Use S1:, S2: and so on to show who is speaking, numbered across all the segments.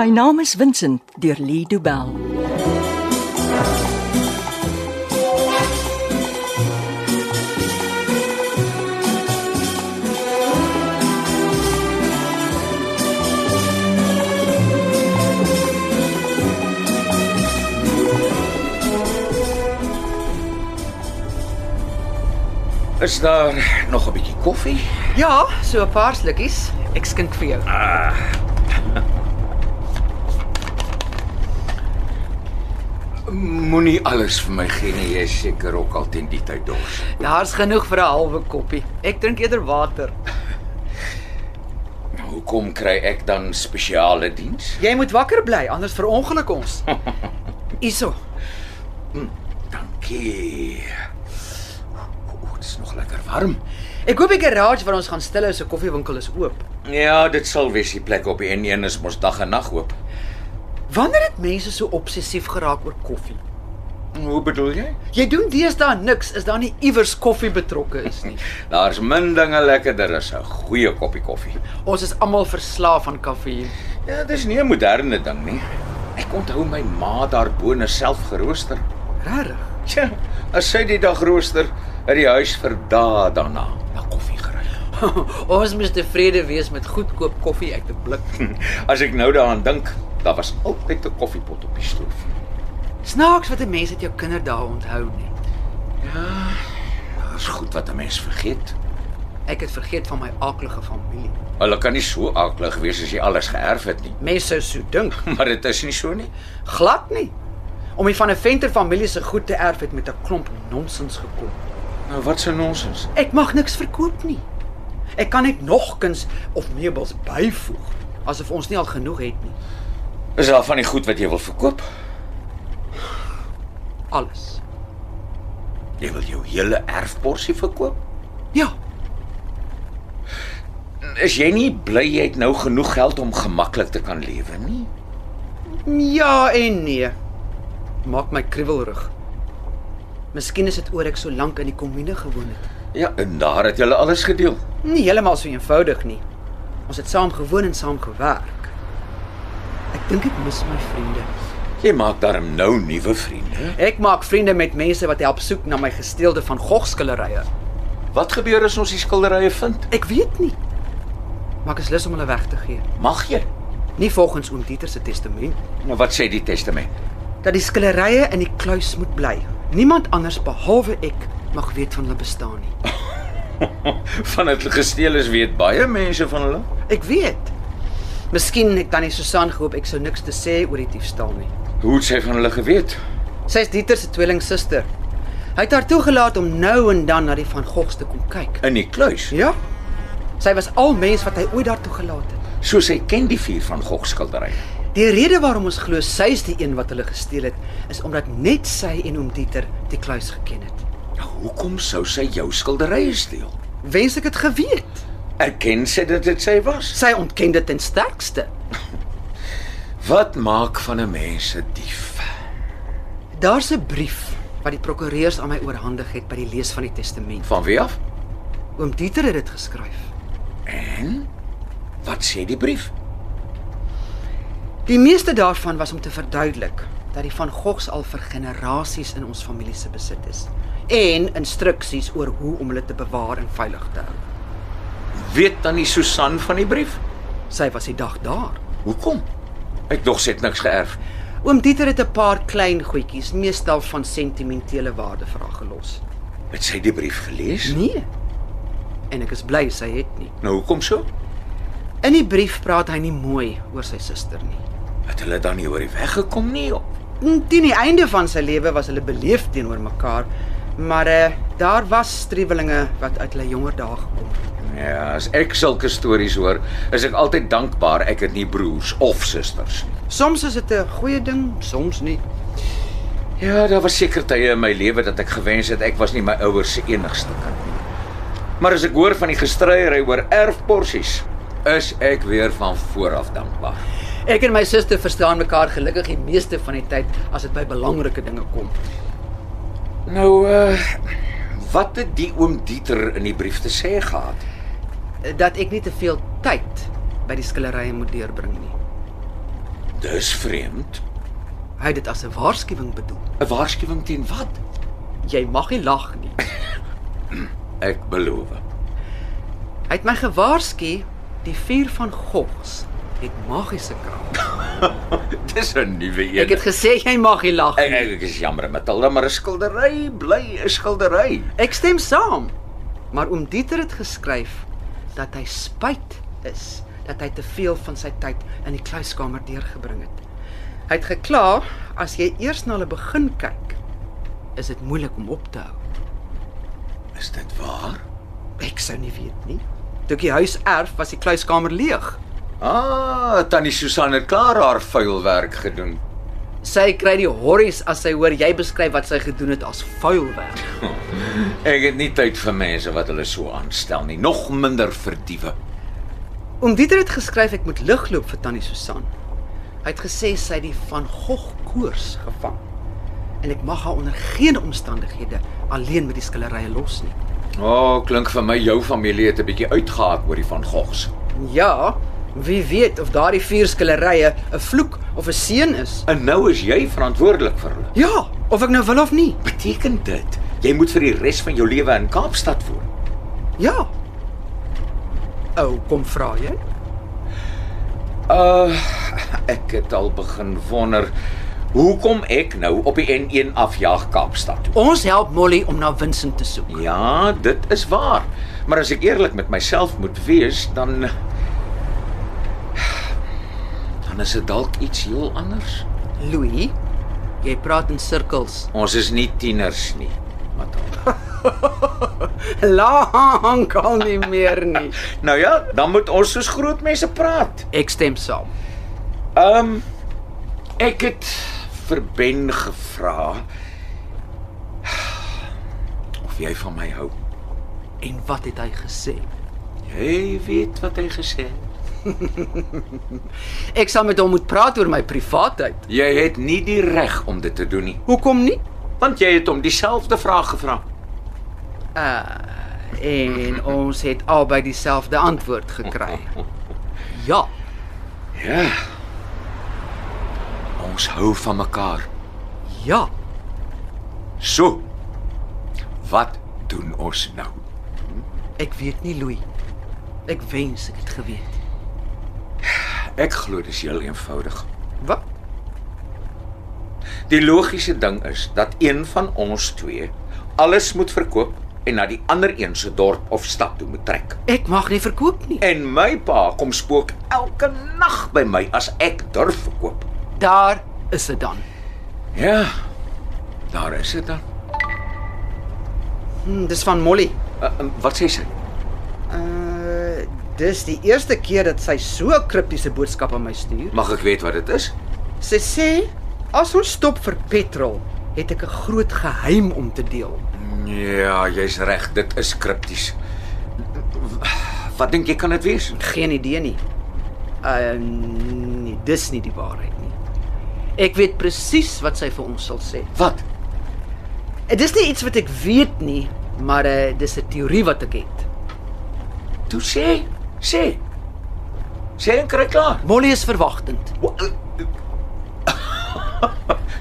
S1: My naam is Vincent deur Lee Du Bell.
S2: Is daar nog 'n bietjie koffie?
S3: Ja, so 'n paar slukkies. Ek skink vir jou.
S2: Moenie alles vir my gee nie, jy is seker ook al teen die tyd dors.
S3: Daar's genoeg vir 'n halwe koppie. Ek drink eerder water.
S2: Hoekom kry ek dan spesiale diens?
S3: Jy moet wakker bly, anders verongeluk ons. Iso.
S2: Dankie. O, dit is nog lekker warm.
S3: Ek hoop die garage waar ons gaan stilhou se koffiewinkel is oop.
S2: Ja, dit sal wees die plek op die N1 is mos dag en nag oop.
S3: Wanneer het mense so obsessief geraak oor koffie?
S2: Hoe bedoel jy?
S3: Jy doen deesdae niks as daar nie iewers koffie betrokke is nie.
S2: Daar's min dinge lekkerder as 'n goeie koppie koffie.
S3: Ons is almal verslaaf aan koffie.
S2: Ja, dis nie 'n moderne ding nie. Ek onthou my ma daarbo net self gerooster.
S3: Regtig?
S2: Tja, as sy die dag rooster, het die huis vir dae daarna na koffie gery.
S3: ons moet tevrede wees met goedkoop koffie uit 'n blik.
S2: As ek nou daaraan dink, daar was altyd 'n koffiepot op die stoof.
S3: Snaaks wat 'n mens uit jou kinderdae onthou nie.
S2: Daar's goed wat 'n mens vergeet.
S3: Ek het vergeet van my aaklige familie.
S2: Hulle kan nie so aklig wees as jy alles geërf het nie,
S3: Mense sou so dink,
S2: maar dit is nie so nie.
S3: glad nie. Om die van 'n venter familie se goed te erf het met 'n klomp nonsens gekom.
S2: Nou wat se nonsens.
S3: Ek mag niks verkoop nie. Ek kan net nog kuns of meubels byvoeg, asof ons nie al genoeg het nie.
S2: Is daar van die goed wat jy wil verkoop?
S3: Alles.
S2: Jy wil jou hele erfporsie verkoop?
S3: Ja,
S2: Is jy nie bly jy het nou genoeg geld om gemaklik te kan lewe nie?
S3: ja en nee. Maak my kriewelrig. Miskien is dit oor ek so lank in die kommune gewoon het.
S2: Ja, en daar het jy alles gedeel.
S3: Nie heeltemal so eenvoudig nie. Ons het saam gewoon en saam gewerk. Ek dink ek mis my vriende.
S2: Jy maak daarom nou nuwe vriende.
S3: Ek maak vriende met mense wat help soek na my gesteelde van Gogh skilderye.
S2: Wat gebeur as ons die skilderye vind?
S3: Ek weet nie. Maar ek is lus om hulle weg te gee.
S2: Mag jy?
S3: Nie volgens oom Dieter se testament
S2: Nou wat sê die testament?
S3: dat die skilderye in die kluis moet bly. Niemand anders behalwe ek mag weet van hulle bestaan nie.
S2: Van dit gesteel is weet baie mense van hulle.
S3: Ek weet. Miskien het tannie Susan gehoop ek sou niks te sê oor die diefstal nie.
S2: Hoe het sy van hulle geweet?
S3: Sy is Dieter se tweelingsuster. Hy het haar toegelaat om nou en dan na die van Gogs te kom kyk.
S2: In die kluis.
S3: Ja. Sy was al mens wat hy ooit daartoe gelaat het.
S2: So sy ken die vier van Gogh skilderye.
S3: Die rede waarom ons glo sy is die een wat hulle gesteel het, is omdat net sy en oom Dieter die kluis geken het.
S2: Nou hoekom sou sy jou skilderye steel?
S3: Wens ek het geweet.
S2: Erken sy dat dit sy was?
S3: Sy ontken dit ten sterkste.
S2: Wat maak van 'n mens 'n dief?
S3: Daar's 'n brief wat die prokureurs aan my oorhandig het by die lees van die testament.
S2: Van wie af?
S3: Oom Dieter het dit geskryf.
S2: En wat sê die brief?
S3: Die meeste daarvan was om te verduidelik dat die van Gogs al vir generasies in ons familie se besit is en instruksies oor hoe om hulle te bewaar en veilig te hou.
S2: Weet tannie Susan van die brief?
S3: Sy was die dag daar.
S2: Hoekom? Ek dog sy het niks geërf.
S3: Oom Dieter het 'n paar klein goedjies, meestal van sentimentele waarde vir haar gelos.
S2: Het sy die brief gelees?
S3: Nee. En ek is bly sy het nie.
S2: Nou hoekom so?
S3: In die brief praat hy nie mooi oor sy suster nie.
S2: Het hulle dan nie oor die weg gekom nie?
S3: Mm, Teen die einde van sy lewe was hulle beleef teenoor mekaar, maar eh, daar was strewelinge wat uit hulle jonger dae gekom het.
S2: Ja, as ek sulke stories hoor, is ek altyd dankbaar ek het nie broers of susters nie.
S3: Soms is dit 'n goeie ding, soms nie.
S2: Ja, daar was seker tye in my lewe dat ek gewens het ek was nie my ouers se enigste kind nie. Maar as ek hoor van die gestryery oor erfporsies, is ek weer van vooraf dankbaar.
S3: Ek en my suster verstaan mekaar gelukkig die meeste van die tyd as dit by belangrike dinge kom.
S2: Nou uh wat het die oom Dieter in die brief te sê gehad?
S3: Dat ek nie te veel tyd by die skillerye moet deurbring nie.
S2: Dis vreemd.
S3: Hy het dit as 'n waarskuwing bedoel.
S2: 'n Waarskuwing teen wat?
S3: Jy mag nie lag nie.
S2: Ek beloof.
S3: Hy het my gewaarsku, die vuur van Gogs het magiese krag.
S2: Dis 'n nuwe een.
S3: Ek het gesê jy mag nie lag
S2: Ek,
S3: nie.
S2: ek, ek is jammer, Matilda, maar 'n skildery bly 'n skildery.
S3: Ek stem saam. Maar oom Dieter het geskryf dat hy spyt is dat hy te veel van sy tyd in die kluiskamer deurgebring het. Hy het gekla as jy eers na hulle begin kyk, is dit moeilik om op te hou.
S2: Is dit waar?
S3: Ek sou nie weet nie. Toe ek die huis erf, was die kluiskamer leeg.
S2: Ah, tannie Susan het klaar haar vuilwerk gedoen.
S3: Sy kry die horries as sy hoor jy beskryf wat sy gedoen het as vuilwerk.
S2: Ek het nie tyd vir mense wat hulle so aanstel nie, nog minder vir diewe.
S3: Oom Dieter het geskryf ek moet ligloop vir tannie Susan. Hy het gesê sy het die van Gogh koors gevang. En ek mag haar onder geen omstandighede alleen met die skillerye los nie.
S2: O, oh, klink vir my jou familie het 'n bietjie uitgehaak oor die van Gogs.
S3: Ja, wie weet of daardie vier skillerye 'n vloek of 'n seën is.
S2: En nou is jy verantwoordelik vir hulle.
S3: Ja, of ek nou wil of nie.
S2: Beteken dit jy moet vir die res van jou lewe in Kaapstad woon?
S3: Ja. Ou, kom vra jy?
S2: Uh, ek het al begin wonder hoekom ek nou op die N1 afjaag Kaapstad toe.
S3: Ons help Molly om na Vincent te soek.
S2: Ja, dit is waar. Maar as ek eerlik met myself moet wees, dan dan is dit dalk iets heel anders.
S3: Louis, jy praat in sirkels.
S2: Ons is nie tieners nie, Matilda.
S3: Lank al nie meer nie.
S2: nou ja, dan moet ons soos groot mense praat.
S3: Ek stem saam.
S2: Ehm um, ek het vir Ben gevra of jy van my hou.
S3: En wat het hy gesê?
S2: Jy weet wat hy gesê het.
S3: Ek sal met hom moet praat oor my privaatheid.
S2: Jy het nie die reg om dit te doen nie,
S3: Hoekom nie?
S2: want jy het hom dieselfde vraag gevra.
S3: En ons het albei dieselfde antwoord gekry. Ja,
S2: Ja. Ons hou van mekaar.
S3: ja.
S2: So. Wat doen ons nou?
S3: Ek weet nie, Louis. Ek wens ek het geweet.
S2: Ek glo dis heel eenvoudig.
S3: Wat?
S2: Die logiese ding is dat een van ons twee alles moet verkoop en na die ander een se dorp of stad toe moet trek.
S3: Ek mag nie verkoop nie.
S2: En my pa kom spook elke nag by my as ek durf verkoop.
S3: Daar is dit dan.
S2: Ja. Daar is dit dan.
S3: Hm, dis van Molly.
S2: Uh, uh, wat sê sy?
S3: Uh, dis die eerste keer dat sy so 'n kriptiese boodskap aan my stuur.
S2: Mag ek weet wat dit is?
S3: Sy sê as ons stop vir petrol, het ek 'n groot geheim om te deel.
S2: Ja, jy's reg, dit is kripties. Wat dink jy kan dit wees?
S3: Geen idee nie. Uh nee, dis nie die waarheid nie. Ek weet presies wat sy vir ons sal sê.
S2: Wat?
S3: Dit is nie iets wat ek weet nie, maar uh dis 'n teorie wat ek het.
S2: Toe sê, sê. Sê en kry klaar.
S3: Molly is verwagtend.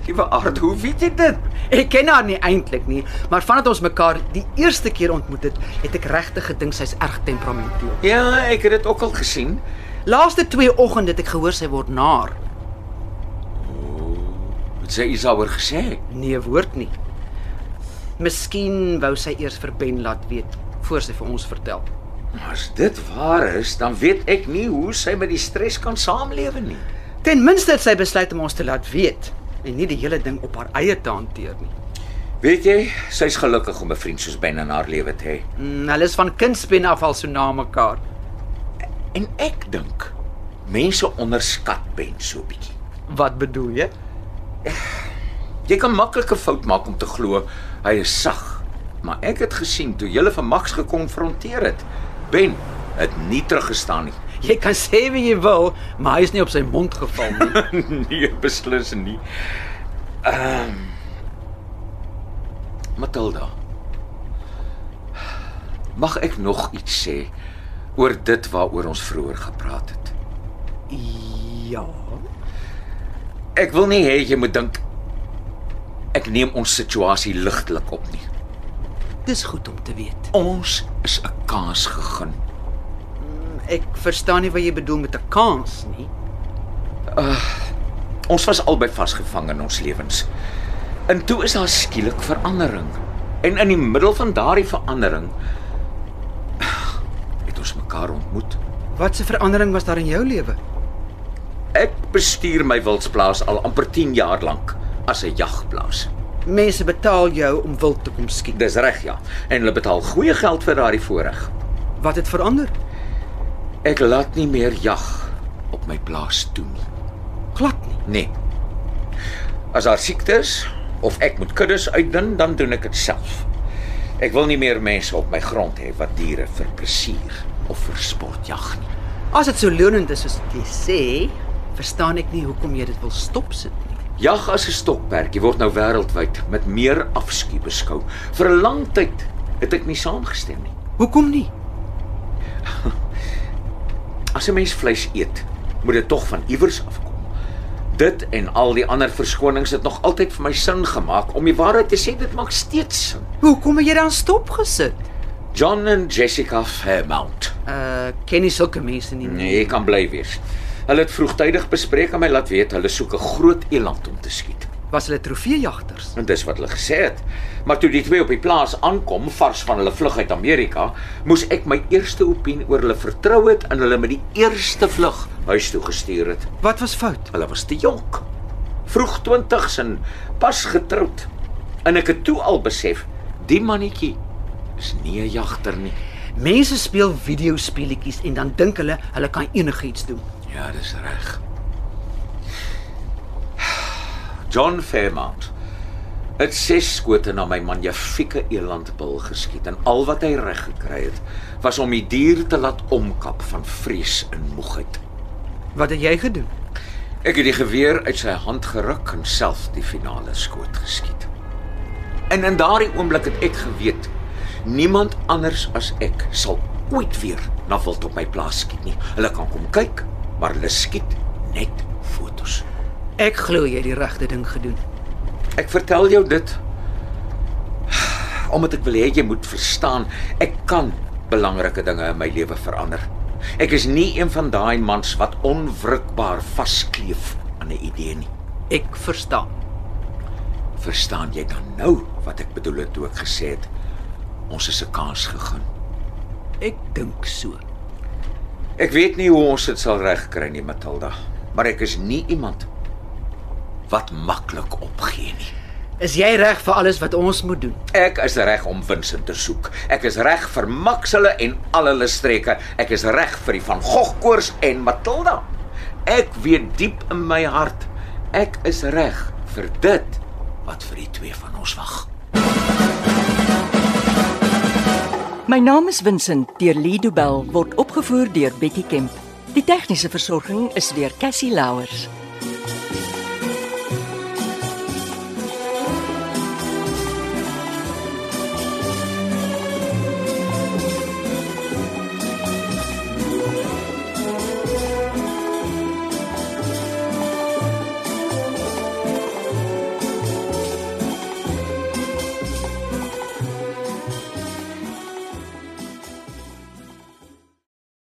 S2: Liewe aard, hoe weet jy dit?
S3: Ek ken haar nie eintlik nie, maar vandat ons mekaar die eerste keer ontmoet het, het ek regtig gedink sy's erg temperamenteel.
S2: Ja, ek het dit ook al gesien.
S3: Laaste twee oggende het ek gehoor sy word naar.
S2: Wat sê jy daaroor gesê?
S3: Nee, woord nie. Miskien wou sy eers vir Ben laat weet voor sy vir ons vertel.
S2: As dit waar is, dan weet ek nie hoe sy met die stres kan saamlewe nie.
S3: Ten minste het sy besluit om ons te laat weet en nie die hele ding op haar eie te hanteer nie.
S2: Weet jy, sy's gelukkig om 'n vriend soos Ben in haar lewe te hê.
S3: Mm, hulle is van kindsben af al so na mekaar.
S2: En ek dink mense onderskat Ben so 'n bietjie.
S3: Wat bedoel jy?
S2: Jy kan maklik 'n fout maak om te glo hy is sag. Maar ek het gesien toe jy vir Max gekonfronteer het, Ben het nie teruggestaan nie.
S3: Jy kan sê wie jy wil, maar hy is nie op sy mond geval nie.
S2: nee, beslis nie. Ehm um, Matilda. Mag ek nog iets sê oor dit waaroor ons vroeër gepraat het?
S3: ja.
S2: Ek wil nie hê jy moet dink ek neem ons situasie ligtelik op nie.
S3: Dis goed om te weet.
S2: Ons is 'n kans gegee.
S3: Ek verstaan nie wat jy bedoel met 'n kans nie.
S2: Ons was albei vasgevang in ons lewens. En toe is daar skielik verandering. En in die middel van daardie verandering het ons mekaar ontmoet.
S3: Wat 'n verandering was daar in jou lewe?
S2: Ek bestuur my wildsplaas al amper 10 jaar lank as 'n jagplaas.
S3: Mense betaal jou om wild te kom skiet.
S2: Dis reg ja, en hulle betaal goeie geld vir daardie voorreg.
S3: Wat het verander?
S2: Ek laat nie meer jag op my plaas toe nie.
S3: Glad nie.
S2: Nee. As daar siektes of ek moet kuddes uitdun, dan doen ek dit self. Ek wil nie meer mense op my grond hê wat diere vir plesier of vir sport jag nie.
S3: As dit so lonend is soos jy sê, verstaan ek nie hoekom jy dit wil stopsit nie.
S2: Jag as 'n stokperdjie word nou wêreldwyd met meer afskuw beskou. Vir 'n lang tyd het ek nie saamgestem nie.
S3: Hoekom nie?
S2: As 'n mens vleis eet, moet dit tog van iewers afkom. Dit en al die ander verskonings het nog altyd vir my sin gemaak om die waarheid te sê, dit maak steeds sin.
S3: Hoekom het jy dan stop gesit?
S2: John en Jessica Fairmount
S3: Uh, ken nie sulke mense nie.
S2: Nee, jy kan bly wees. Hulle het vroegtydig bespreek en my laat weet hulle soek 'n groot eland om te skiet.
S3: Was hulle trofeejagters?
S2: En dis wat hulle gesê het. Maar toe die twee op die plaas aankom, vars van hulle vlug uit Amerika, moes ek my eerste opinie oor hulle vertrou het en hulle met die eerste vlug huis toe gestuur het.
S3: Wat was fout?
S2: Hulle was te jonk. Vroeg 20's en pas getroud. En ek het toe al besef, die mannetjie is nie 'n jagter nie.
S3: Mense speel videospeletjies en dan dink hulle hulle kan enigiets doen.
S2: Ja, dis reg. John Fairmount het ses skote na my magnifieke elandbil geskiet en al wat hy reg gekry het was om die dier te laat omkap van vrees en moegheid.
S3: Wat het jy gedoen?
S2: Ek het die geweer uit sy hand geruk en self die finale skoot geskiet. En in daardie oomblik het ek geweet niemand anders as ek sal ooit weer na wild op my plaas skiet nie. Hulle kan kom kyk, maar hulle skiet net fotos.
S3: Ek glo jy het die regte ding gedoen.
S2: Ek vertel jou dit omdat ek wil hê jy moet verstaan, ek kan belangrike dinge in my lewe verander. Ek is nie een van daai mans wat onwrikbaar vaskleef aan 'n idee nie.
S3: Ek verstaan.
S2: Verstaan jy dan nou wat ek bedoel het toe ek gesê het ons is 'n kans gegee?
S3: Ek dink so.
S2: Ek weet nie hoe ons dit sal regkry nie, Matilda, maar ek is nie iemand wat maklik opgee nie.
S3: Is jy reg vir alles wat ons moet doen?
S2: Ek is reg om Vincent te soek. Ek is reg vir Maxelle en al hulle streke. Ek is reg vir die van Gogkoors en Matilda. Ek weet diep in my hart ek is reg vir dit wat vir die twee van ons wag.
S1: My naam is Vincent deur Lido Bell word opgevoer deur Betty Kemp. Die tegniese versorging is deur Cassie Louers.